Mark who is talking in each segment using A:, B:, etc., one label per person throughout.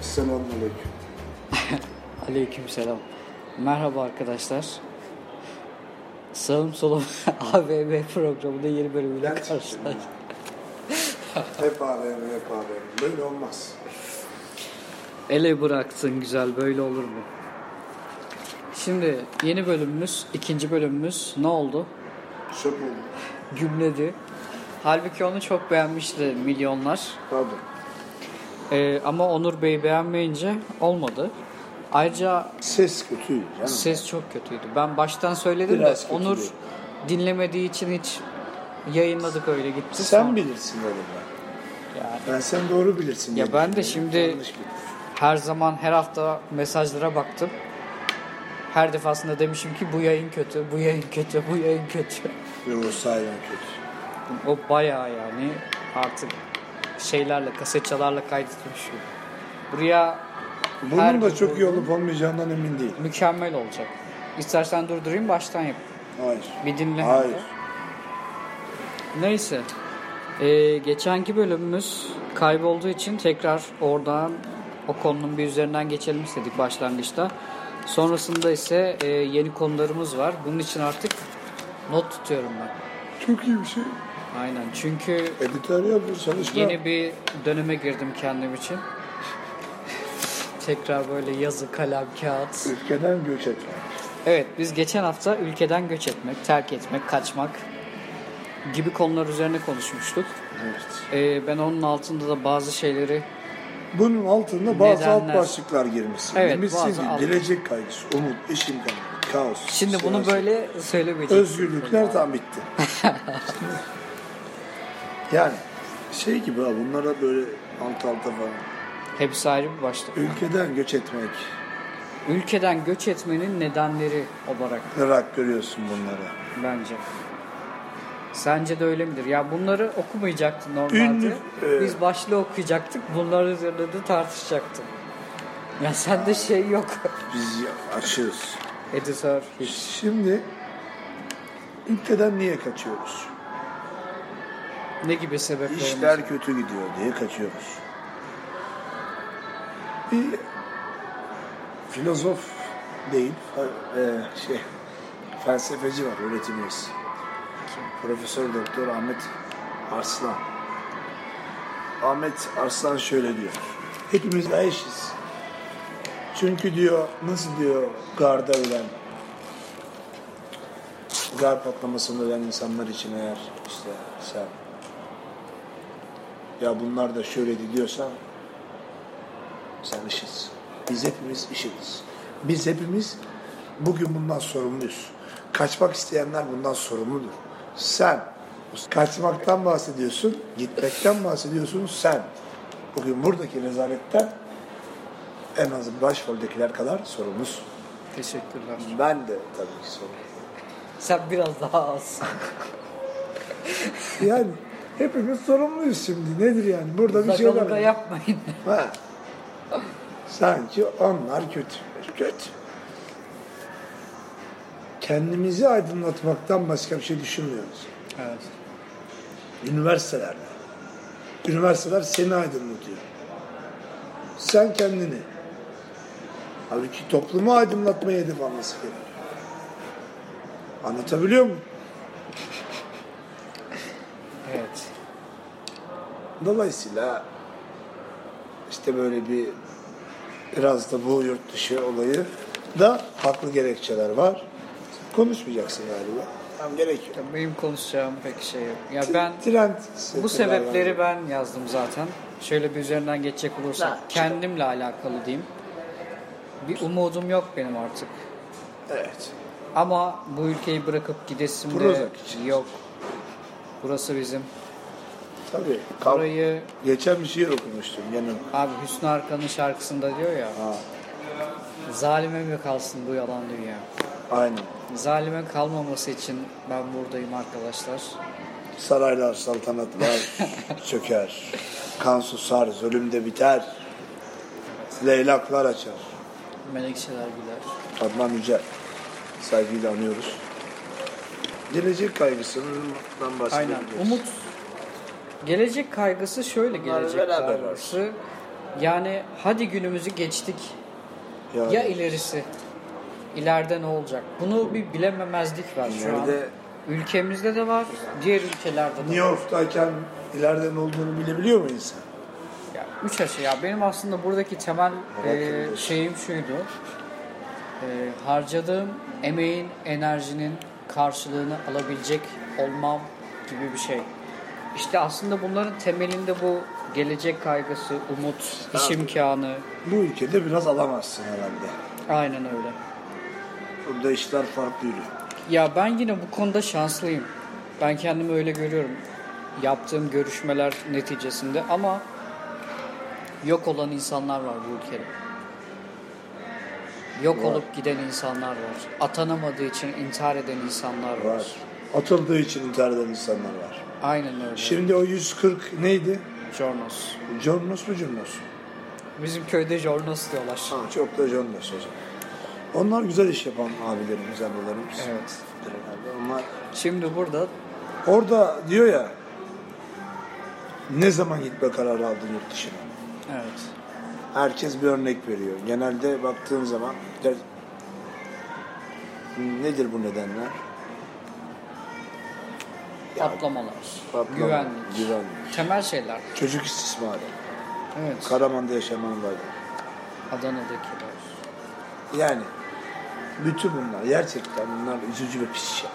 A: Selamünaleyküm.
B: Aleykümselam. Merhaba arkadaşlar. Sağım solum AVM programında yeni bölümüyle
A: Bülent.
B: karşılaştık.
A: Hep AVM, hep AVM. Böyle olmaz.
B: Ele bıraksın güzel böyle olur mu? Şimdi yeni bölümümüz, ikinci bölümümüz ne oldu?
A: Şok oldum.
B: Gümledi. Halbuki onu çok beğenmişti milyonlar.
A: Pardon.
B: Ee, ama Onur Bey beğenmeyince olmadı. Ayrıca
A: Ses kötüydü canım.
B: Ses çok kötüydü. Ben baştan söyledim
A: Biraz
B: de
A: kötüydü.
B: Onur dinlemediği için hiç yayınladık öyle gitti.
A: Sen
B: Sonra-
A: bilirsin öyle ben.
B: Yani
A: Ben sen doğru bilirsin.
B: Ya
A: diye
B: ben de
A: düşünüyorum.
B: şimdi-
A: Yanlış bildim.
B: her zaman her hafta mesajlara baktım. Her defasında demişim ki bu yayın kötü, bu yayın kötü, bu yayın kötü.
A: Ve o sahiden kötü.
B: O bayağı yani artık şeylerle, kasetçalarla kaydetmiş. Buraya
A: Bunun
B: her
A: da
B: bir
A: çok iyi
B: vurgun
A: olup olmayacağından emin değilim.
B: mükemmel olacak. İstersen durdurayım baştan yap.
A: Hayır.
B: Bir dinle.
A: Hayır.
B: Neyse. Ee, geçenki bölümümüz kaybolduğu için tekrar oradan o konunun bir üzerinden geçelim istedik başlangıçta. Sonrasında ise e, yeni konularımız var. Bunun için artık not tutuyorum ben.
A: Çok iyi bir şey.
B: Aynen. Çünkü
A: Editör yapıyor çalışma.
B: yeni bir döneme girdim kendim için. tekrar böyle yazı, kalem, kağıt.
A: Ülkeden göç etmek.
B: Evet, biz geçen hafta ülkeden göç etmek, terk etmek, kaçmak gibi konular üzerine konuşmuştuk.
A: Evet.
B: Ee, ben onun altında da bazı şeyleri
A: Bunun altında bazı alt
B: Nedenler.
A: başlıklar girmiş.
B: Evet,
A: Evet,
B: bazı
A: ki
B: alt-
A: gelecek kaygısı, umut, iş imkanı, kaos.
B: Şimdi bunu
A: siyasi-
B: böyle söylemeyeceğim.
A: Özgürlükler tam bitti. yani şey gibi ha bunlara böyle alt alta falan.
B: Hepsi ayrı bir başlık.
A: Ülkeden göç etmek.
B: Ülkeden göç etmenin nedenleri olarak
A: Irak görüyorsun bunları.
B: bence. Sence de öyle midir? Ya bunları okumayacaktın normalde.
A: Ünlü, e-
B: Biz başlığı okuyacaktık. Bunlar üzerinde de tartışacaktık. Ya sende şey yok.
A: Biz ya- açığız.
B: Editör.
A: Şimdi ülkeden niye kaçıyoruz?
B: Ne gibi sebeplerimiz?
A: İşler kötü gidiyor diye kaçıyoruz. Bir filozof değil, fa- e, şey felsefeci var öğretimimiz. Profesör Doktor Ahmet Arslan. Ahmet Arslan şöyle diyor. Hepimiz eşiz. Çünkü diyor, nasıl diyor garda ölen, gar patlamasında ölen insanlar için eğer işte şey sen ya bunlar da şöyle diyorsan sen işiz. Biz hepimiz işiz. Biz hepimiz bugün bundan sorumluyuz. Kaçmak isteyenler bundan sorumludur. Sen kaçmaktan bahsediyorsun, gitmekten bahsediyorsun sen. Bugün buradaki rezaletten en az başroldekiler kadar sorumlusun.
B: Teşekkürler.
A: Ben de tabii ki sorumluyum.
B: Sen biraz daha az.
A: Yani hepimiz sorumluyuz şimdi. Nedir yani? Burada bir şey
B: Bakalım
A: var.
B: da yapmayın.
A: Ha. Sanki onlar kötü. Kötü. Kendimizi aydınlatmaktan başka bir şey düşünmüyoruz.
B: evet.
A: Üniversitelerde. Üniversiteler seni aydınlatıyor. Sen kendini. Halbuki toplumu aydınlatmaya hedef alması gerekiyor. Anlatabiliyor muyum?
B: Evet.
A: Dolayısıyla işte böyle bir biraz da bu yurt dışı olayı da haklı gerekçeler var. Konuşmayacaksın galiba. Tam gerek yok.
B: Ya Benim konuşacağım pek şey yok. Ya ben
A: Trend sektörler
B: bu sebepleri
A: var.
B: ben yazdım zaten. Şöyle bir üzerinden geçecek olursak kendimle alakalı diyeyim. Bir umudum yok benim artık.
A: Evet.
B: Ama bu ülkeyi bırakıp gidesim de
A: Prozac için.
B: yok. Burası bizim.
A: Tabii. Kalk-
B: Orayı
A: Geçen bir şiir okumuştum yanım.
B: abi Hüsnü Arkan'ın şarkısında diyor ya. Zalime mi kalsın bu yalan dünya?
A: Aynen.
B: Zalime kalmaması için ben buradayım arkadaşlar.
A: Saraylar, saltanatlar çöker. Kan susar, zulüm de biter. Leylaklar açar.
B: Melekçeler güler.
A: Adnan Yücel. Saygıyla anıyoruz. Gelecek kaygısından bahsediyoruz.
B: Aynen. Umut gelecek kaygısı şöyle gelecek
A: beraber
B: kaygısı Yani hadi günümüzü geçtik.
A: Yani
B: Ya ilerisi? İleride ne olacak? Bunu bir bilememezlik var şu an.
A: İleride-
B: Ülkemizde de var, diğer ülkelerde de var.
A: New York'tayken ileride ne olduğunu bilebiliyor mu insan?
B: Ya, üç aşı ya. Benim aslında buradaki temel
A: Evet,
B: e,
A: evet.
B: şeyim şuydu. E, harcadığım emeğin, enerjinin karşılığını alabilecek olmam gibi bir şey. İşte aslında bunların temelinde bu gelecek kaygısı, umut, iş imkanı.
A: Bu ülkede biraz alamazsın herhalde.
B: Aynen öyle.
A: Burada işler farklı yürüyor.
B: Ya ben yine bu konuda şanslıyım. Ben kendimi öyle görüyorum. Yaptığım görüşmeler neticesinde ama yok olan insanlar var bu ülkede. Yok olup giden insanlar var. Atanamadığı için intihar eden insanlar var.
A: Var. Atıldığı için intihar eden insanlar var.
B: Aynen öyle.
A: Şimdi o 140 neydi?
B: Jornos.
A: Jornos mu Jornos? mu?
B: Bizim köyde Jornos diyorlar.
A: Ha, çok da Jornos o zaman. Onlar güzel iş yapan abilerimiz, ablalarımız.
B: Evet.
A: Herhalde Onlar
B: Şimdi burada
A: orada diyor ya ne zaman gitme kararı aldın yurt dışına?
B: evet.
A: Herkes bir örnek veriyor. Genelde baktığın zaman der- nedir bu nedenler?
B: patlamalar,
A: Patlama,
B: güvenlik.
A: güvenlik.
B: Temel şeyler.
A: Çocuk istismarı.
B: Evet.
A: Karaman'da yaşanan olaylar.
B: Adana'dakiler.
A: Yani bütün bunlar gerçekten bunlar üzücü ve pis şey.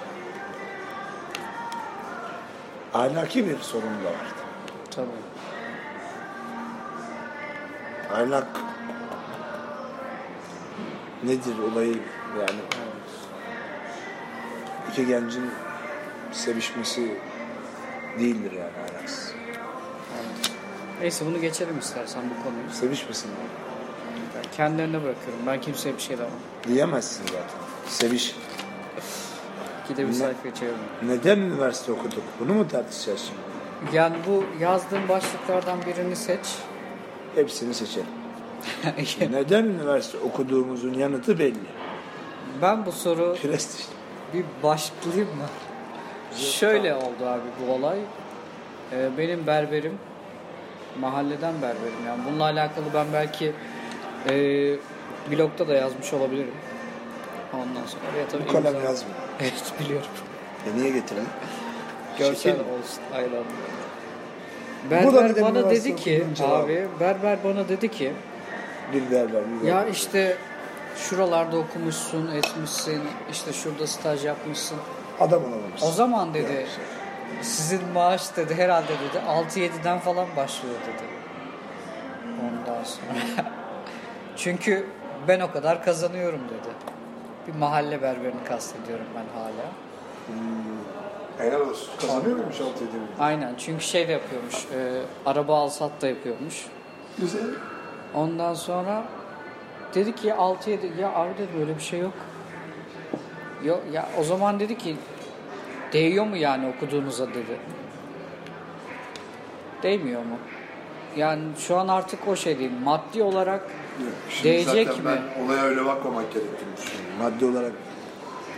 A: Ahlaki bir sorun da var.
B: Tabii.
A: Ahlak nedir olayı yani iki gencin sevişmesi değildir yani ahlaksız.
B: Neyse bunu geçelim istersen bu konuyu.
A: Sevişmesinler.
B: Ben Kendilerine bırakıyorum. Ben kimseye bir şey demem.
A: Diyemezsin zaten. Seviş.
B: Gide bir sayfaya çevirin.
A: Neden üniversite okuduk? Bunu mu tartışacağız şimdi?
B: Yani bu yazdığım başlıklardan birini seç.
A: Hepsini seçelim. Neden üniversite okuduğumuzun yanıtı belli.
B: ben bu soru
A: Prestij.
B: bir başlayayım mı? Şöyle oldu abi bu olay. Ee, benim berberim, mahalleden berberim. Yani bununla alakalı ben belki e, blogda da yazmış olabilirim. Ondan sonra ya tabii
A: Bu kalem
B: imza-
A: yazmıyor.
B: Evet biliyorum.
A: E niye getirdin?
B: Görsel
A: Şekil mi?
B: olsun aynen.
A: Bu da
B: Berber
A: dedim
B: bana
A: üniversite
B: dedi ki
A: okuyunca
B: abi berber bana dedi ki
A: Bir derler, bir
B: ya
A: derler.
B: işte şuralarda okumuşsun, etmişsin, işte şurada staj yapmışsın.
A: Adam şey. olamamışsın.
B: O zaman dedi sizin maaş dedi herhalde dedi 6-7'den falan başlıyor dedi. Ondan sonra. Çünkü ben o kadar kazanıyorum dedi. Bir mahalle berberini kastediyorum ben hala.
A: Helal olsun. Kazanıyor muymuş 6 7
B: Aynen çünkü şey de yapıyormuş. e, araba alsat da yapıyormuş.
A: Güzel.
B: Ondan sonra dedi ki 6-7 ya abi dedim öyle bir şey yok. Yok ya o zaman dedi ki değiyor mu yani okuduğunuza dedi. Değmiyor mu? Yani şu an artık o şey değil. Maddi olarak değecek mi?
C: olaya öyle bakmamak gerektiğini düşünüyorum.
A: Maddi olarak.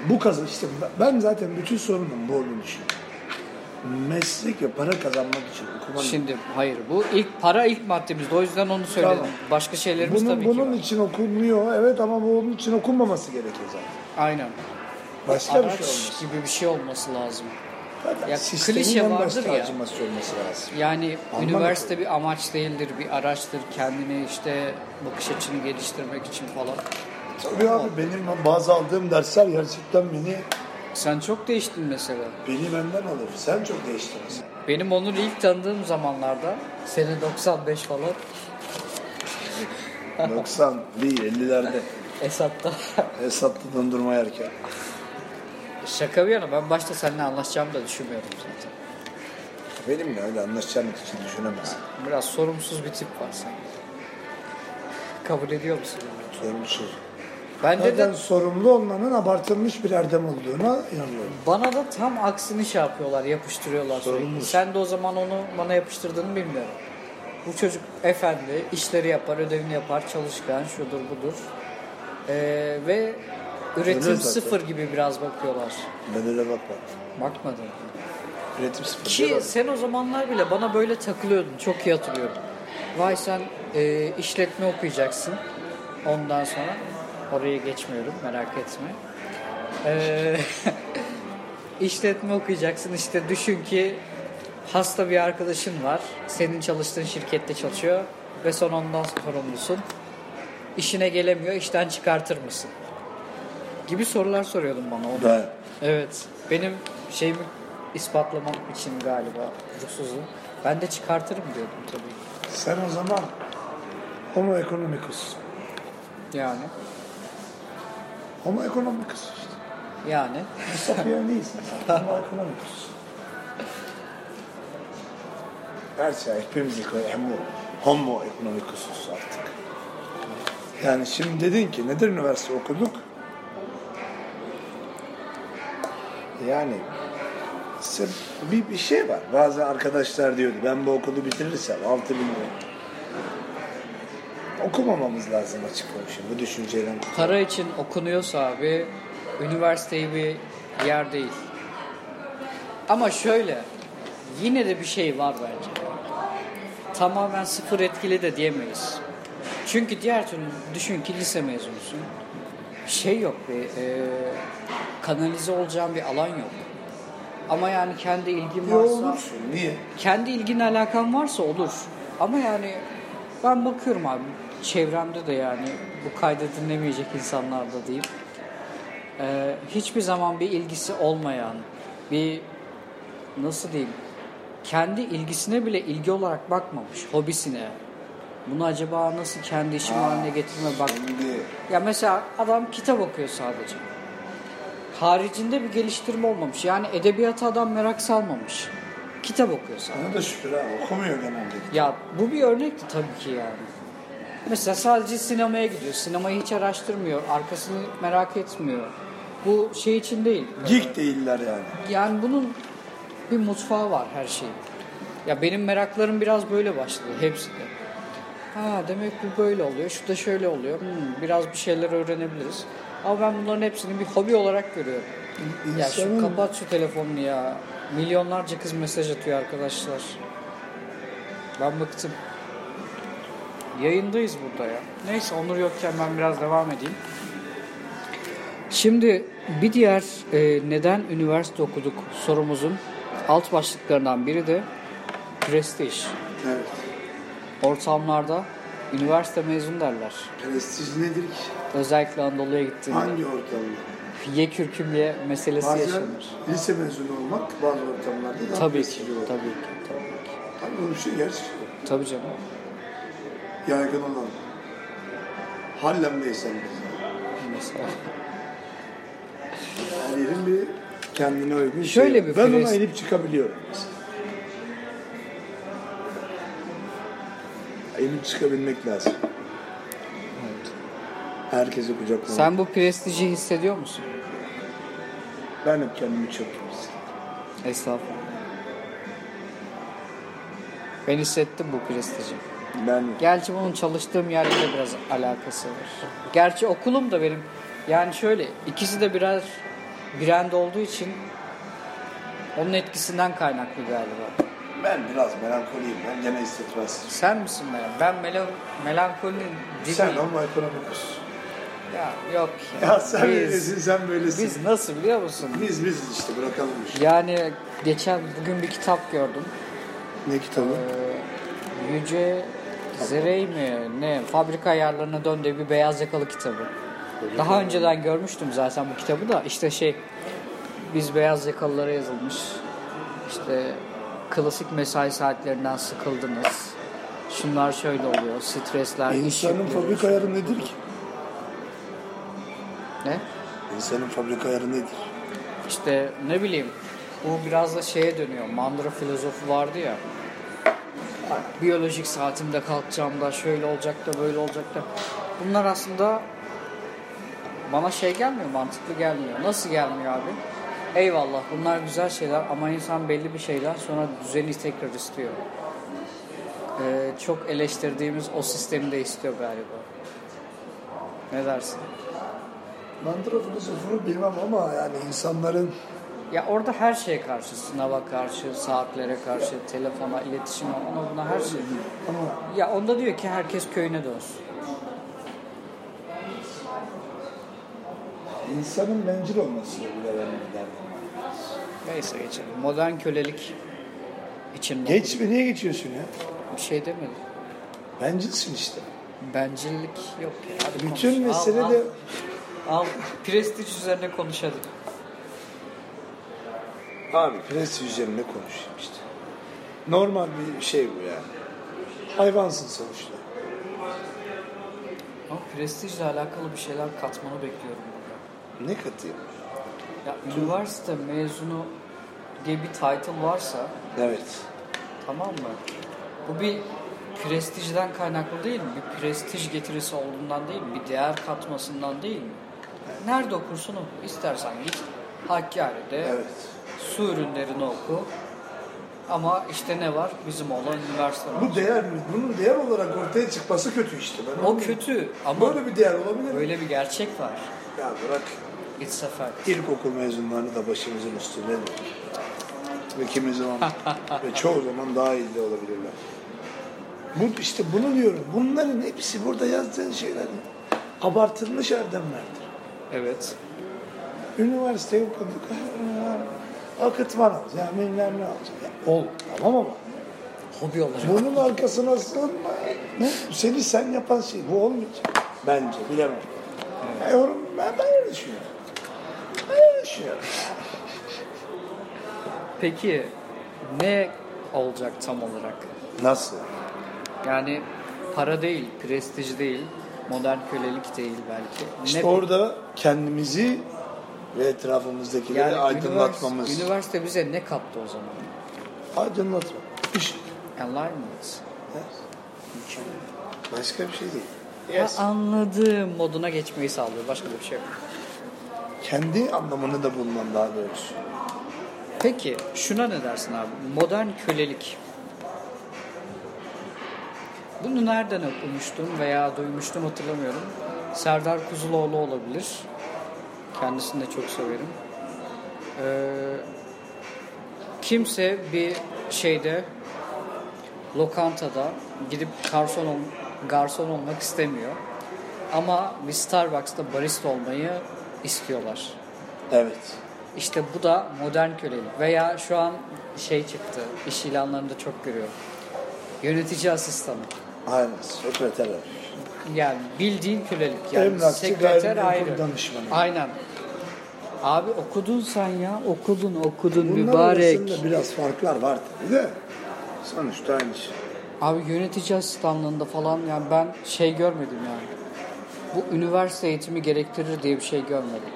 A: Bu kazan işte ben zaten bütün sorunun bu olduğunu düşünüyorum. Meslek ve para kazanmak için okuman
B: Şimdi hayır bu ilk para ilk maddemizdi. O yüzden onu söyledim.
A: Tamam.
B: Başka şeylerimiz
A: bunun,
B: tabii
A: bunun
B: ki var.
A: için okunmuyor evet ama bu onun için okunmaması gerekiyor zaten.
B: Aynen.
A: Başka
B: Araç
A: bir şey olmaz.
B: gibi bir şey olması lazım.
A: Zaten
B: Ya
A: sistemin
B: klişe
A: en
B: vardır
A: başta
B: ya.
A: acıması olması lazım.
B: Yani
A: Anlamadım.
B: üniversite bir amaç değildir, bir araçtır. Kendini işte bakış açını geliştirmek için falan.
A: Tabii abi benim bazı aldığım dersler gerçekten beni
B: Sen çok değiştin mesela.
A: beni benden alır. Sen çok değiştin. aslında.
B: Benim onu ilk tanıdığım zamanlarda, sene 95 falan,
A: 90 değil 50'lerde
B: Esat'ta.
A: hesaplı dondurma yerken.
B: Şaka bir yana ben başta seninle anlaşacağımı da düşünmüyordum zaten.
A: Benimle öyle anlaşacağım için düşünemez.
B: Biraz sorumsuz bir tip var sanki. Kabul ediyor musun? bunu?
A: Sorumsuz.
B: Bende de
A: Zaten şey. sorumlu olmanın abartılmış bir erdem olduğuna inanıyorum.
B: bana da tam aksini şey yapıyorlar, yapıştırıyorlar sürekli.
A: Sorumuz.
B: Sen de o zaman onu bana yapıştırdığını bilmiyorum. Bu çocuk efendi, işleri yapar, ödevini yapar, çalışkan, şudur budur. Ee, ve üretim
A: Öyle zaten.
B: sıfır gibi biraz bakıyorlar.
A: Ben öyle bakmam.
B: Bakmadın.
A: Üretim sıfır.
B: Ki sen o zamanlar bile bana böyle takılıyordun, çok iyi hatırlıyorum. Vaysel e, işletme okuyacaksın. Ondan sonra oraya geçmiyorum merak etme. E, işletme okuyacaksın işte düşün ki hasta bir arkadaşın var. Senin çalıştığın şirkette çalışıyor ve son ondan sorumlusun. İşine gelemiyor işten çıkartır mısın? Gibi sorular soruyordum bana. o
A: Da,
B: Evet. Benim şeyimi ispatlamam için galiba ruhsuzluğu. Ben de çıkartırım diyordum tabii.
A: sen o zaman homo economicus.
B: Yani.
A: Homo economicus işte.
B: Yani.
A: Mustafa Yön değilsin sen. Homo economicus. Gerçi şey hepimiz homo, homo economicusuz artık. Yani şimdi dedin ki nedir üniversite okuduk? Yani sırf bir, bir şey var. Bazı arkadaşlar diyordu ben bu okulu bitirirsem 6 bin lira. Okumamamız lazım açık konuşayım bu düşünceyle.
B: Para için okunuyorsa abi üniversiteyi bir yer değil. Ama şöyle yine de bir şey var bence. Tamamen sıfır etkili de diyemeyiz. Çünkü diğer türlü düşün ki lise mezunusun. Şey yok bir e, kanalize olacağın bir alan yok. Ama yani kendi ilgin
A: Yo,
B: varsa
A: olursun. Niye?
B: kendi ilginle alakan varsa olur. Ama yani ben bakıyorum abi çevremde de yani bu kayda dinlemeyecek insanlarda diyeyim. Ee, hiçbir zaman bir ilgisi olmayan bir nasıl diyeyim kendi ilgisine bile ilgi olarak bakmamış hobisine. Bunu acaba nasıl kendi işim haline getirme bak.
A: Şimdi
B: Ya mesela adam kitap okuyor sadece. Haricinde bir geliştirme olmamış. Yani edebiyata adam merak salmamış. Kitap okuyor sadece.
A: Ona da şükür ha okumuyor genelde.
B: Ya bu bir örnekti tabii ki yani. Mesela sadece sinemaya gidiyor. Sinemayı hiç araştırmıyor. Arkasını merak etmiyor. Bu şey için değil.
A: Geek değiller yani.
B: Yani bunun bir mutfağı var her şeyin. Ya benim meraklarım biraz böyle başladı hepsi de. Ha demek bu böyle oluyor, şu da şöyle oluyor. Hmm, biraz bir şeyler öğrenebiliriz. Ama ben bunların hepsini bir hobi olarak görüyorum. Ya şu
A: İnsanın-
B: kapat şu telefonunu ya. Milyonlarca kız mesaj atıyor arkadaşlar. Ben bıktım. Yayındayız burada ya. Neyse Onur yokken ben biraz devam edeyim. Şimdi bir diğer e, neden üniversite okuduk sorumuzun alt başlıklarından biri de prestij.
A: Evet.
B: Ortamlarda üniversite mezunu derler.
A: Prestij nedir ki?
B: Özellikle Anadolu'ya gittiğinde
A: Hangi ortamda?
B: ye kürkümye meselesi
A: Bazen
B: yaşanır.
A: lise mezunu olmak bazı ortamlarda daha
B: Tabii ki,
A: prestijli olur.
B: tabii ki, tabii ki.
A: Tabii bunun bir şey gerçek.
B: Tabii canım.
A: Yaygın olan. Hallem Beysen bizim.
B: Mesela.
A: Her yerin bir kendine uygun
B: Şöyle
A: şeyi
B: bir
A: var. Ben ona
B: prest-
A: inip çıkabiliyorum mesela. İnip çıkabilmek lazım. Herkesi kucaklamak.
B: Sen bu prestiji hissediyor musun?
A: Ben hep kendimi çok iyi hissediyorum.
B: Estağfurullah. Ben hissettim bu prestiji.
A: Ben
B: Gerçi bunun çalıştığım yerle de biraz alakası var. Gerçi okulum da benim yani şöyle ikisi de biraz brand olduğu için onun etkisinden kaynaklı galiba.
A: Ben biraz melankoliyim. Ben gene istikraz.
B: Sen misin melan? Ben melan melankolinin dibiyim.
A: Sen ama ekonomikus.
B: Ya yok ya.
A: Ya sen
B: biz,
A: böylesin, sen böylesin.
B: biz nasıl biliyor musun?
A: Biz biz işte bırakalım bu işi.
B: Yani geçen bugün bir kitap gördüm.
A: Ne kitabı?
B: Yüce Zerey mi ne fabrika ayarlarına dön diye bir beyaz yakalı kitabı. Daha önceden görmüştüm zaten bu kitabı da işte şey biz beyaz yakalılara yazılmış işte klasik mesai saatlerinden sıkıldınız. Şunlar şöyle oluyor stresler. iş
A: Ee, İnsanın
B: yükleri.
A: fabrika ayarı nedir ki?
B: Ne?
A: İnsanın fabrika ayarı nedir?
B: İşte ne bileyim bu biraz da şeye dönüyor. Mandıra filozofu vardı ya. Biyolojik saatimde kalkacağım da şöyle olacak da böyle olacak da. Bunlar aslında bana şey gelmiyor mantıklı gelmiyor. Nasıl gelmiyor abi? Eyvallah bunlar güzel şeyler ama insan belli bir şeyden sonra düzeni tekrar istiyor. Ee, çok eleştirdiğimiz o sistemi de istiyor galiba. Ne dersin?
A: Mandıra filozofunu bilmem ama yani insanların
B: Ya orada her şeye karşı, sınava karşı, saatlere karşı, telefona, iletişime, ona buna her şey.
A: Ama
B: Ya onda diyor ki herkes köyüne dönsün.
A: insanın bencil olması bile benim bir derdim.
B: Neyse geçelim. Modern kölelik için
A: Geç mi? Niye geçiyorsun ya?
B: bir şey demedim.
A: Bencilsin işte.
B: Bencillik yok ya. Hadi
A: Bütün
B: konuş. Al,
A: mesele
B: al.
A: de
B: Al, prestij üzerine konuşalım.
A: Abi pres üzerine konuşayım işte. Normal bir şey bu yani. Hayvansın sonuçta.
B: Ama prestijle alakalı bir şeyler katmanı bekliyorum burada.
A: Ne katayım?
B: Ya üniversite mezunu diye bir title varsa
A: Evet.
B: tamam mı? Bu bir prestijden kaynaklı değil mi? Bir prestij getirisi olduğundan değil mi? Bir değer katmasından değil mi? Nerede okursun oku. İstersen git Hakkari'de
A: Evet.
B: su ürünlerini oku. Ama işte ne var? Bizim olan üniversite var.
A: Bu değer mi? Bunun değer olarak ortaya çıkması kötü işte. Ben
B: O
A: onu-
B: kötü ama
A: Böyle bir değer olabilir mi?
B: böyle bir gerçek var.
A: Ya bırak.
B: It's a fact.
A: İlkokul mezunlarını da başımızın üstünde mi? Ve kimi zaman ve çoğu zaman daha iyi de olabilirler. Bu, işte bunu diyorum. Bunların hepsi burada yazdığın şeyler abartılmış erdemlerdir.
B: Evet.
A: Üniversite okuduk. ha, Akıtman alacağız. Yani bilmem ne alacağız. Ya ol tamam ama
B: Hobi olarak.
A: bunun arkasına sığınma. Bu seni sen yapan şey. Bu olmayacak. Bence bilemem. Ya Yorum, ben, ben öyle düşünüyorum. Ben öyle düşünüyorum.
B: Peki ne olacak tam olarak?
A: Nasıl?
B: Yani para değil, prestij değil, modern kölelik değil belki.
A: İşte
B: Ne-
A: orada kendimizi ve etrafımızdakileri
B: yani
A: aydınlatmamız.
B: Üniversite, üniversite bize ne kattı o zaman?
A: Aydınlatma. Bir şey.
B: Enlightenment.
A: Ha? Başka bir şey değil.
B: Ha, anladığım moduna geçmeyi sağlıyor. Başka da bir şey yok.
A: Kendi anlamını da bulman daha doğrusu.
B: Peki şuna ne dersin abi? Modern kölelik. Bunu nereden okumuştum veya duymuştum hatırlamıyorum. Serdar Kuzuloğlu olabilir. Kendisini de çok severim. Ee, kimse bir şeyde lokantada gidip garson, ol- garson olmak istemiyor. Ama bir Starbucks'ta barista olmayı istiyorlar.
A: Evet.
B: İşte bu da modern kölelik veya şu an şey çıktı iş ilanlarında çok görüyorum. Yönetici asistanı.
A: Aynen. Sekreter abi.
B: Yani bildiğin kölelik. Yani
A: Emlakçı,
B: sekreter
A: gayrimenkul
B: ayrı.
A: danışmanı.
B: Aynen. Abi okudun sen ya. Okudun okudun
A: Bunlar
B: mübarek.
A: arasında biraz farklar var tabii de. Sonuçta aynı şey.
B: Abi yönetici asistanlığında falan yani ben şey görmedim yani. Bu üniversite eğitimi gerektirir diye bir şey görmedim.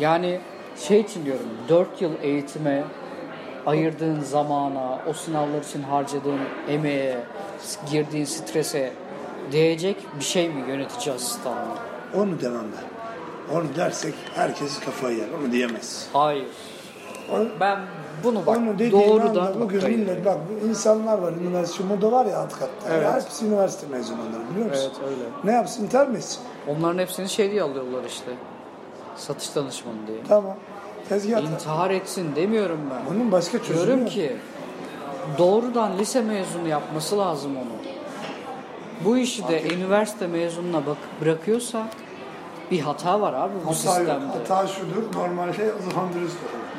B: Yani şey için diyorum 4 yıl eğitime ayırdığın zamana, o sınavlar için harcadığın emeğe, girdiğin strese değecek bir şey mi yönetici asistanlığı?
A: Onu demem ben. Onu dersek herkes kafayı yer. Onu diyemez.
B: Hayır.
A: Onu,
B: Ben bunu bak
A: onu dediğin
B: doğrudan
A: anda bugün
B: noktayı-
A: millet bak bu insanlar var. Üniversite moda var ya alt katta.
B: Evet.
A: Hepsi üniversite mezunları biliyor musun?
B: Evet,
A: Ne
B: öyle.
A: yapsın ter mi etsin?
B: Onların hepsini şey diye alıyorlar işte. Satış danışmanı diye.
A: Tamam. Tezgah at.
B: İntihar etsin demiyorum ben.
A: Bunun başka çözümü
B: Diyorum
A: yok.
B: ki doğrudan lise mezunu yapması lazım onu. Bu işi de üniversite mezununa bak bırakıyorsa bir hata var abi bu
A: Hata
B: sistemde.
A: yok. Hata şudur. Normalde o zaman dürüst olalım.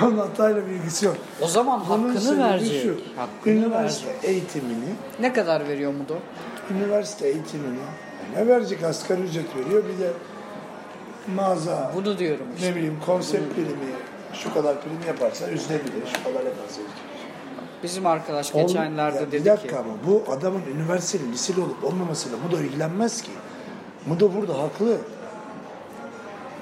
A: Bunun hatayla bir ilgisi yok.
B: O zaman
A: Bunun
B: hakkını
A: sebebi
B: verecek.
A: şu,
B: Hakkını
A: Üniversite
B: verecek.
A: eğitimini
B: Ne kadar veriyor Mudo?
A: üniversite eğitimini ne verecek asgari ücret veriyor bir de mağaza
B: Bunu diyorum işte.
A: ne bileyim konsept primi şu kadar prim yaparsa üzülebilir şu kadar yaparsa üzülebilir.
B: Bizim arkadaş
A: Ol-
B: geçenlerde
A: Ya
B: dedi
A: bir dakika
B: ki
A: ama bu adamın üniversiteli liseli olup olmamasıyla bu da ilgilenmez ki. Bu da burada haklı.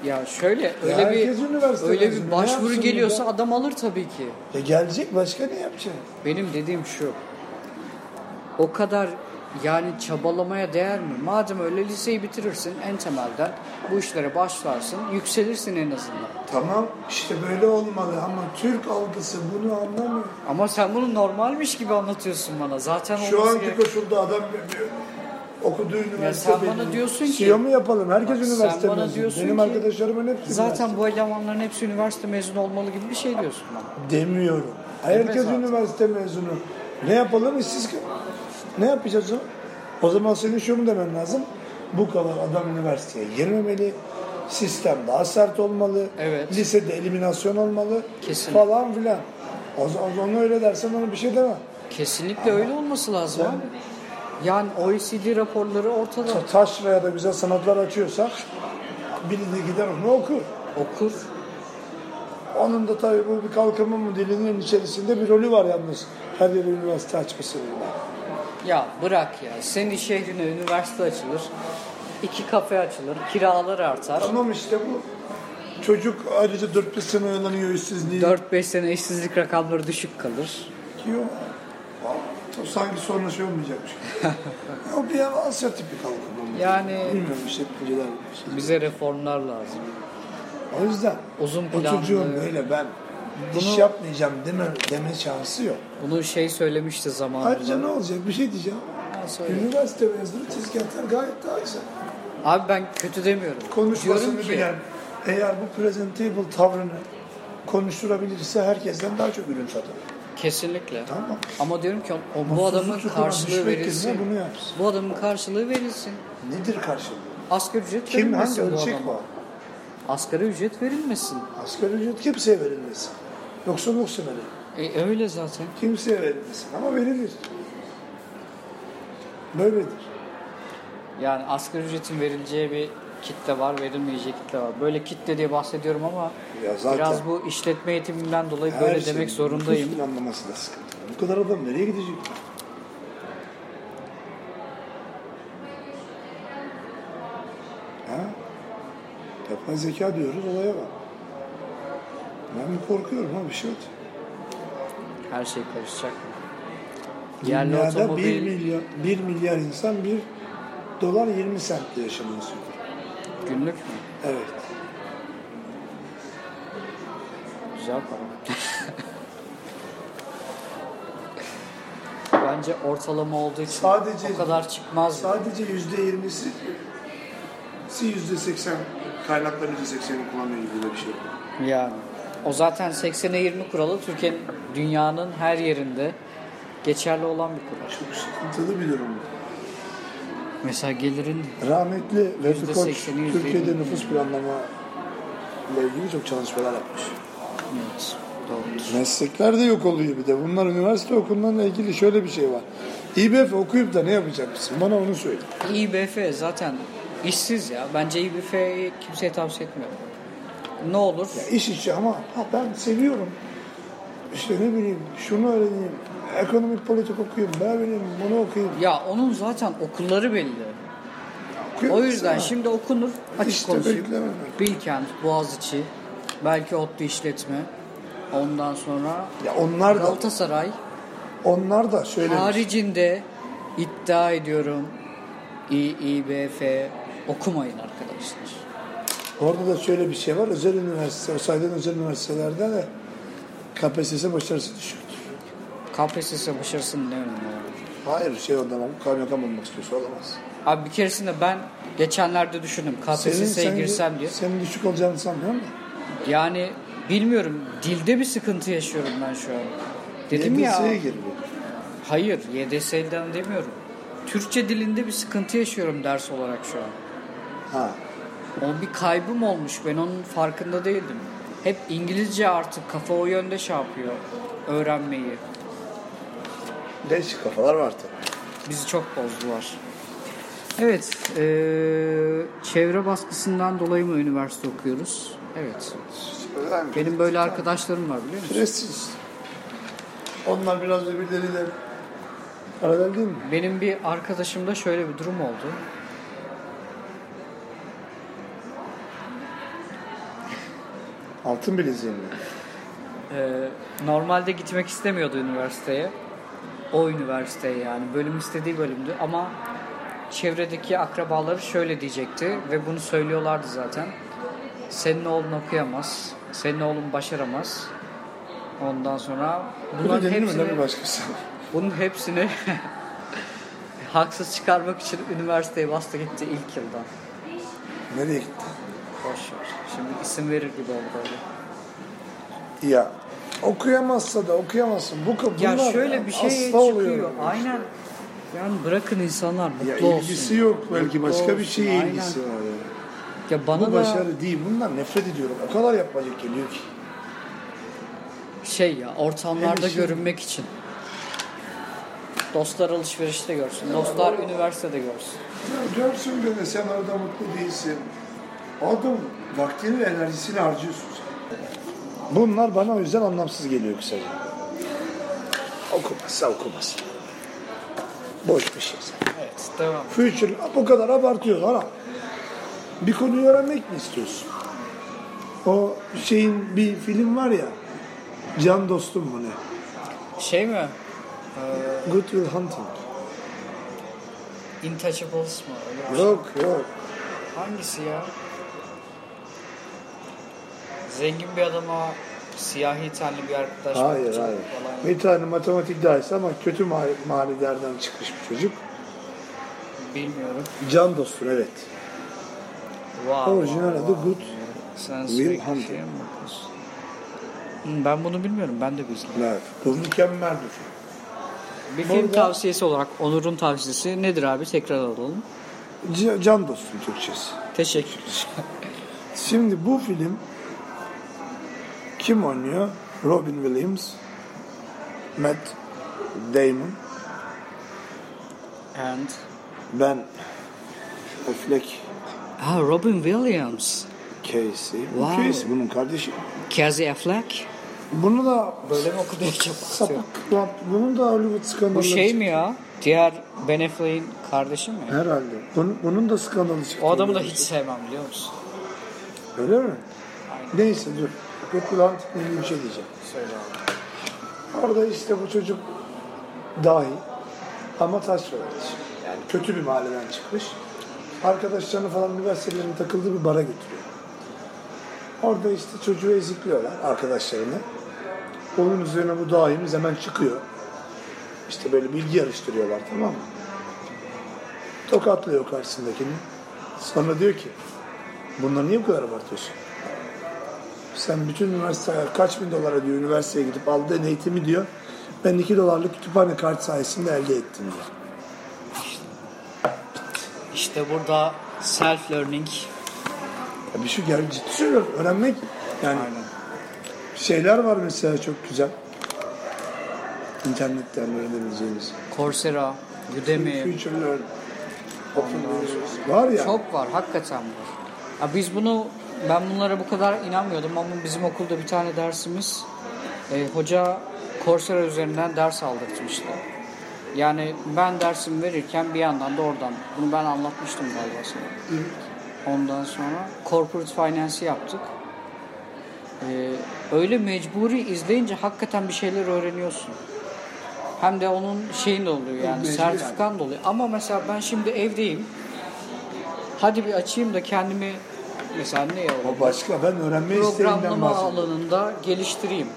B: ya şöyle öyle
A: herkes
B: bir
A: üniversite
B: öyle
A: mezunu,
B: bir
A: ne
B: başvuru
A: yapsın
B: geliyorsa
A: burada?
B: adam alır tabii ki.
A: Ya E gelecek başka ne yapacak?
B: Benim dediğim şu. O kadar yani çabalamaya değer mi? Madem öyle liseyi bitirirsin en temelden bu işlere başlarsın, yükselirsin en azından.
A: Tamam işte böyle olmalı ama Türk algısı bunu anlamıyor.
B: Ama sen bunu normalmiş gibi anlatıyorsun bana. Zaten
A: Şu
B: olması
A: anki
B: gerek-
A: koşulda adam Okuduğu üniversite
B: sen bana diyorsun ki-
A: CEO mu yapalım? Herkes
B: sen
A: üniversite
B: bana
A: mezunu.
B: diyorsun
A: Benim
B: ki-
A: arkadaşlarımın hepsi üniversite.
B: Zaten bu elemanların hepsi üniversite mezunu olmalı gibi bir şey diyorsun bana.
A: Demiyorum. Herkes
B: zaten.
A: üniversite mezunu. Ne yapalım işsiz kal- Ne yapacağız o? O zaman senin şunu demen lazım. Bu kadar adam üniversiteye girmemeli. Sistem daha sert olmalı.
B: Evet.
A: Lisede eliminasyon olmalı.
B: Kesin.
A: Falan filan. O zaman onu öyle dersen ona bir şey demem.
B: Kesinlikle öyle olması lazım abi. Yani OECD raporları ortada.
A: Ta- Taşra'ya da güzel sanatlar açıyorsak biri de gider onu okur.
B: Okur.
A: Onun da tabii bu bir kalkınma dilinin içerisinde bir rolü var yalnız. Her yere üniversite açmasının.
B: Ya bırak ya. Senin şehrine üniversite açılır. iki kafe açılır. Kiralar artar.
A: Tamam işte bu. Çocuk ayrıca 4-5 sene oyalanıyor işsizliği.
B: 4-5 sene işsizlik rakamları düşük kalır.
A: diyor. Aa, Sanki sonra şey olmayacakmış gibi. o bir an Asya tipi kalkınma.
B: Yani-
A: Bilmiyorum işletmeciler. şey.
B: Bize reformlar lazım.
A: O yüzden
B: Uzun
A: o
B: planlı-
A: çocuğun böyle ben iş
B: Bunu-
A: yapmayacağım deme, deme şansı yok.
B: Bunu şey söylemişti zamanında.
A: Ayrıca ne olacak bir şey diyeceğim.
B: Ha, söyle.
A: Üniversite mezunu tezgahlar gayet daha güzel.
B: Abi ben kötü demiyorum. Diyorum
A: Konuşmasını
B: ki,
A: bilen eğer bu presentable tavrını konuşturabilirse herkesten daha çok ürün satar.
B: Kesinlikle.
A: Tamam.
B: Ama diyorum ki o-
A: Ama
B: bu
A: susuz
B: adamın
A: çukura
B: karşılığı
A: düşmek yerine
B: verilsin.
A: bunu yapsın.
B: Bu adamın karşılığı verilsin.
A: Nedir karşılığı?
B: Asgari ücret
A: Kim hangi
B: verilmesin bu
A: ölçek
B: adama.
A: var?
B: Asgari ücret verilmesin.
A: Asgari ücret kimseye verilmesin. Yoksa yoksa verir.
B: E, öyle zaten.
A: Kimseye verilmesin ama verilir. Böyledir.
B: Yani asgari ücretin verileceği bir kitle var, verilmeyeceği kitle var. Böyle kitle diye bahsediyorum ama
A: Ya zaten-
B: biraz bu işletme eğitimimden dolayı
A: Her şey
B: böyle
A: şeyin
B: demek zorundayım.
A: nüfusun anlaması da sıkıntı. Bu kadar adam nereye gidecek? Ha? Yapay zeka diyoruz olaya bak. Ben bir korkuyorum ha bir şey yok.
B: Her şey karışacak. Yerli
A: Dünyada 1
B: otomobil
A: milyar, 1 milyar insan 1 dolar 20 sentle yaşamını sürüyor.
B: günlük mü?
A: Evet.
B: Güzel para. Bence ortalama olduğu için
A: Sadece-
B: o kadar çıkmaz.
A: Sadece yüzde yirmisi yüzde seksen
C: Kaynakların %80'ini kullanıyor gibi de bir şey.
B: Yani o zaten 80'e 20 kuralı Türkiye'nin dünyanın her yerinde geçerli olan bir kural.
A: çok sıkıntılı bir durum.
B: Mesela gelirin
A: Rahmetli Vefi
B: Yüzde
A: Koç
B: sekseni, yüzde
A: Türkiye'de
B: yirmi.
A: nüfus planlama ile ilgili çok çalışmalar yapmış.
B: evet, doğrudur.
A: Meslekler de yok oluyor bir de. Bunlar üniversite okullarıyla ilgili şöyle bir şey var. İBF okuyup da ne yapacak mısın? Bana onu söyle.
B: İBF zaten işsiz ya. Bence İBF'yi kimseye tavsiye etmiyorum. Ne olur?
A: İş içi ama ha, ben seviyorum. İşte ne bileyim şunu öğreneyim. Ekonomik politik okuyayım. Ben bileyim bunu okuyayım.
B: Ya onun zaten okulları belli.
A: Okuyorum
B: O yüzden
A: sana.
B: şimdi okunur. Açık
A: İşte
B: konuşayım.
A: beklemem.
B: Bilkent, Boğaziçi, belki ODTÜ işletme. Ondan sonra
A: Ya onlar da
B: Galatasaray.
A: onlar da şöyle şey,
B: Haricinde iddia ediyorum İİBF okumayın arkadaşlar.
A: Orada da şöyle bir şey var. Özel üniversite, o saydığın özel üniversitelerde de KPSS başarısı düşüktür.
B: KPSS başarısının ne önemi var?
A: Hayır şey ondan ama kaymakam olmak istiyorsa olamaz.
B: Abi bir keresinde ben geçenlerde düşündüm KPSS'ye
A: sen-
B: girsem diye.
A: Senin düşük olacağını sanmıyorum da.
B: Yani bilmiyorum dilde bir sıkıntı yaşıyorum ben şu an. Dedim
A: YDS'ye
B: ya
A: gir
B: hayır YDS'den demiyorum. Türkçe dilinde bir sıkıntı yaşıyorum ders olarak şu an.
A: Ha.
B: O bir kaybım olmuş. Ben onun farkında değildim. Hep İngilizce artık kafa o yönde şey yapıyor. Öğrenmeyi.
A: Değişik kafalar var tabii.
B: Bizi çok bozdular. Evet. eee, çevre baskısından dolayı mı üniversite okuyoruz? Evet. Benim böyle arkadaşlarım var biliyor musun?
A: Prestij. Onlar biraz birbirleriyle paralel değil mi?
B: Benim bir arkadaşımda şöyle bir durum oldu.
A: Altın bileziğim mi?
B: Ee, normalde gitmek istemiyordu üniversiteye. O üniversiteye yani bölüm istediği bölümdü ama çevredeki akrabaları şöyle diyecekti ve bunu söylüyorlardı zaten. Senin oğlun okuyamaz, senin oğlun başaramaz. Ondan sonra
A: Bu da
B: bunların
A: kendine mi lan
B: hepsini,
A: bir başkası?
B: bunun hepsini haksız çıkarmak için üniversiteyi bastı gitti ilk yıldan.
A: Nereye gitti?
B: Boş ver. Şimdi isim verir gibi oldu öyle.
A: Ya okuyamazsa da okuyamazsın. Bu ka-
B: Ya
A: bunlar
B: şöyle bir şey
A: hasta
B: çıkıyor.
A: oluyor.
B: Aynen. Yani bırakın insanlar mutlu
A: Ya
B: olsun.
A: ilgisi yok belki
B: Mutlu
A: başka bir
B: olsun,
A: şeye
B: aynen.
A: ilgisi var ya.
B: Ya
A: Bu
B: bana da
A: başarı değil. Bundan nefret ediyorum. O kadar yapmacık geliyor ki.
B: şey ya ortamlarda
A: Hem işin-
B: görünmek için. Dostlar alışverişte görsün. Dostlar üniversitede görsün.
C: Ya Görsün beni sen orada mutlu değilsin. Adam vaktini ve enerjisini harcıyorsun sen.
A: Bunlar bana o yüzden anlamsız geliyor kısaca. Okumazsa okumasın. Boş bir şey zaten.
B: Evet devam.
A: Future bu kadar abartıyorsun ana. Bir konuyu öğrenmek mi istiyorsun? O şeyin bir film var ya. Can dostum mu ne?
B: Şey mi?
A: Good Will Hunting.
B: Intouchables mı? Öyle bir şey.
A: Yok yok.
B: Hangisi ya? Zengin bir adama siyahi tenli bir arkadaş
A: Hayır
B: bakıcı
A: hayır.
B: falan.
A: Bir tane matematik dersi ama kötü ma- mahallelerden çıkmış bir çocuk.
B: Bilmiyorum.
A: Can dostun evet.
B: Wow,
A: Orijinal
B: wow,
A: adı
B: wow.
A: Good
B: Sen
A: Will
B: sürekli
A: Hunting.
B: şeye mi bakıyorsun? Hı, Ben bunu bilmiyorum. Ben de bilmiyorum.
A: Evet. Bu mükemmel bir film.
B: Bir
A: Bu
B: film
A: arada-
B: tavsiyesi olarak Onur'un tavsiyesi nedir abi? Tekrar alalım.
A: C- Can dostum Türkçesi.
B: Teşekkürler.
A: Şimdi bu film kim oynuyor? Robin Williams, Matt Damon,
B: And
A: Ben Affleck,
B: ha, Robin Williams,
A: Casey. Bu
B: Wow.
A: Casey bunun kardeşi.
B: Casey Affleck.
A: Bunu da
B: Böyle mi okudu hiç
A: sapık. lan Bunun da Hollywood skandalı
B: Bu şey
A: çıktı.
B: mi ya? Diğer Ben Affleck'in kardeşi mi?
A: Herhalde. Bunun, bunun da skandalı çıktı.
B: O adamı da hiç sevmem biliyor musun?
A: Öyle mi? Neyse dur. Good Lantik ilgili bir şey diyeceğim.
B: Söyle abi.
A: Orada işte bu çocuk dahi ama taş öğretici. Yani kötü bir mahalleden çıkmış. Arkadaşlarını falan üniversitelerin takıldığı bir bara götürüyor. Orada işte çocuğu ezikliyorlar arkadaşlarını. Onun üzerine bu dahimiz hemen çıkıyor. İşte böyle bilgi yarıştırıyorlar tamam mı? Tokatlıyor karşısındakini. Sonra diyor ki bunları niye bu kadar abartıyorsun? Sen bütün üniversite kaç bin dolara diyor üniversiteye gidip aldığın eğitimi diyor. Ben 2 dolarlık kütüphane kart sayesinde elde ettim diyor.
B: İşte burada self learning.
A: Ya bir şey gel ciddi söylüyorum. Öğrenmek yani şeyler var mesela çok güzel. İnternetten öğrenebileceğiniz.
B: Coursera, Udemy.
A: Future Learn. Open University. Var ya.
B: Çok var hakikaten var. Ya biz bunu ben bunlara bu kadar inanmıyordum ama bizim okulda bir tane dersimiz e, hoca Coursera üzerinden ders aldırtmıştı. Yani ben dersimi verirken bir yandan da oradan bunu ben anlatmıştım galiba sana. Ondan sonra corporate finance'i yaptık. E, öyle mecburi izleyince hakikaten bir şeyler öğreniyorsun. Hem de onun şeyin de oluyor yani
A: Mecbur
B: sertifikan da oluyor. Ama mesela ben şimdi evdeyim. Hadi bir açayım da kendimi mesela ne yapalım?
A: O başka. Ben öğrenme isteğinden
B: Programlama
A: bahsediyorum.
B: alanında geliştireyim.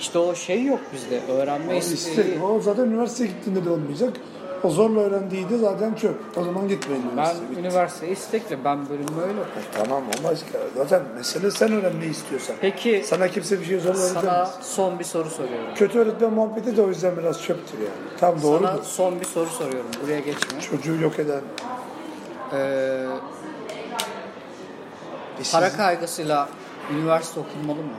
B: İşte o şey yok bizde.
A: O
B: Öğrenme isteği.
A: istek. O zaten üniversiteye gittiğinde de olmayacak. O zorla öğrendiği de zaten çöp. O zaman gitmeyin
B: Ben
A: üniversiteye.
B: üniversite istekle ben bölümü öyle okudum.
A: Tamam o başka. Zaten mesele sen öğrenmeyi istiyorsan.
B: Peki
A: Sana kimse bir şey zorla
B: sana
A: öğretemez.
B: son bir soru soruyorum.
A: Kötü öğretmen muhabbeti de o yüzden biraz çöptür yani. Tam doğrudur.
B: Sana son bir soru soruyorum. Buraya geçme.
A: Çocuğu yok eden.
B: Ee,
A: işsiz-
B: para kaygısıyla üniversite okunmalı mı?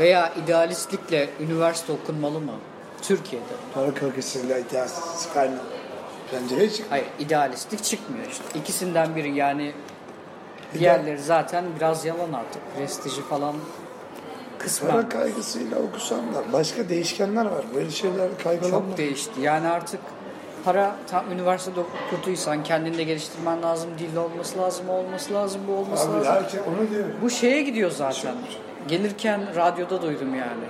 B: Veya idealistlikle üniversite okunmalı mı? Türkiye'de.
A: Para kırkısıyla idealsiz kaynağı. Pencereye çık.
B: Hayır idealistlik çıkmıyor işte. İkisinden biri yani diğerleri zaten biraz yalan artık. Prestiji falan
A: Para
B: kısmen
A: kaygısıyla okusan da başka değişkenler var. Böyle şeyler kaygılanma.
B: çok değişti. Yani artık para tam üniversitede okuduysan kendini de geliştirmen lazım. Dil olması lazım, o olması lazım, bu olması
A: Abi
B: lazım.
A: herkes onu diyor.
B: Bu şeye gidiyor zaten. Gelirken radyoda duydum yani.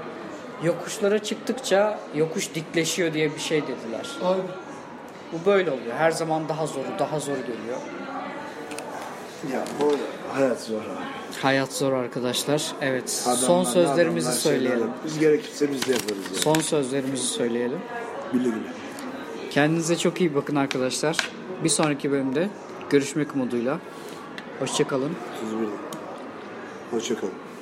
B: Yokuşlara çıktıkça yokuş dikleşiyor diye bir şey dediler.
A: Abi,
B: Bu böyle oluyor. Her zaman daha zoru, daha zor geliyor.
A: ya bu hayat zor abi.
B: Hayat zor arkadaşlar. Evet. son
A: Adamlar,
B: sözlerimizi
A: adamlar
B: söyleyelim.
A: şeyler- Biz gerekirse biz de yaparız. Yani.
B: Son sözlerimizi söyleyelim.
A: Güle güle.
B: Kendinize çok iyi bakın arkadaşlar. Bir sonraki bölümde görüşmek umuduyla. Hoşçakalın.
A: Ну, 31. Hoşçakalın.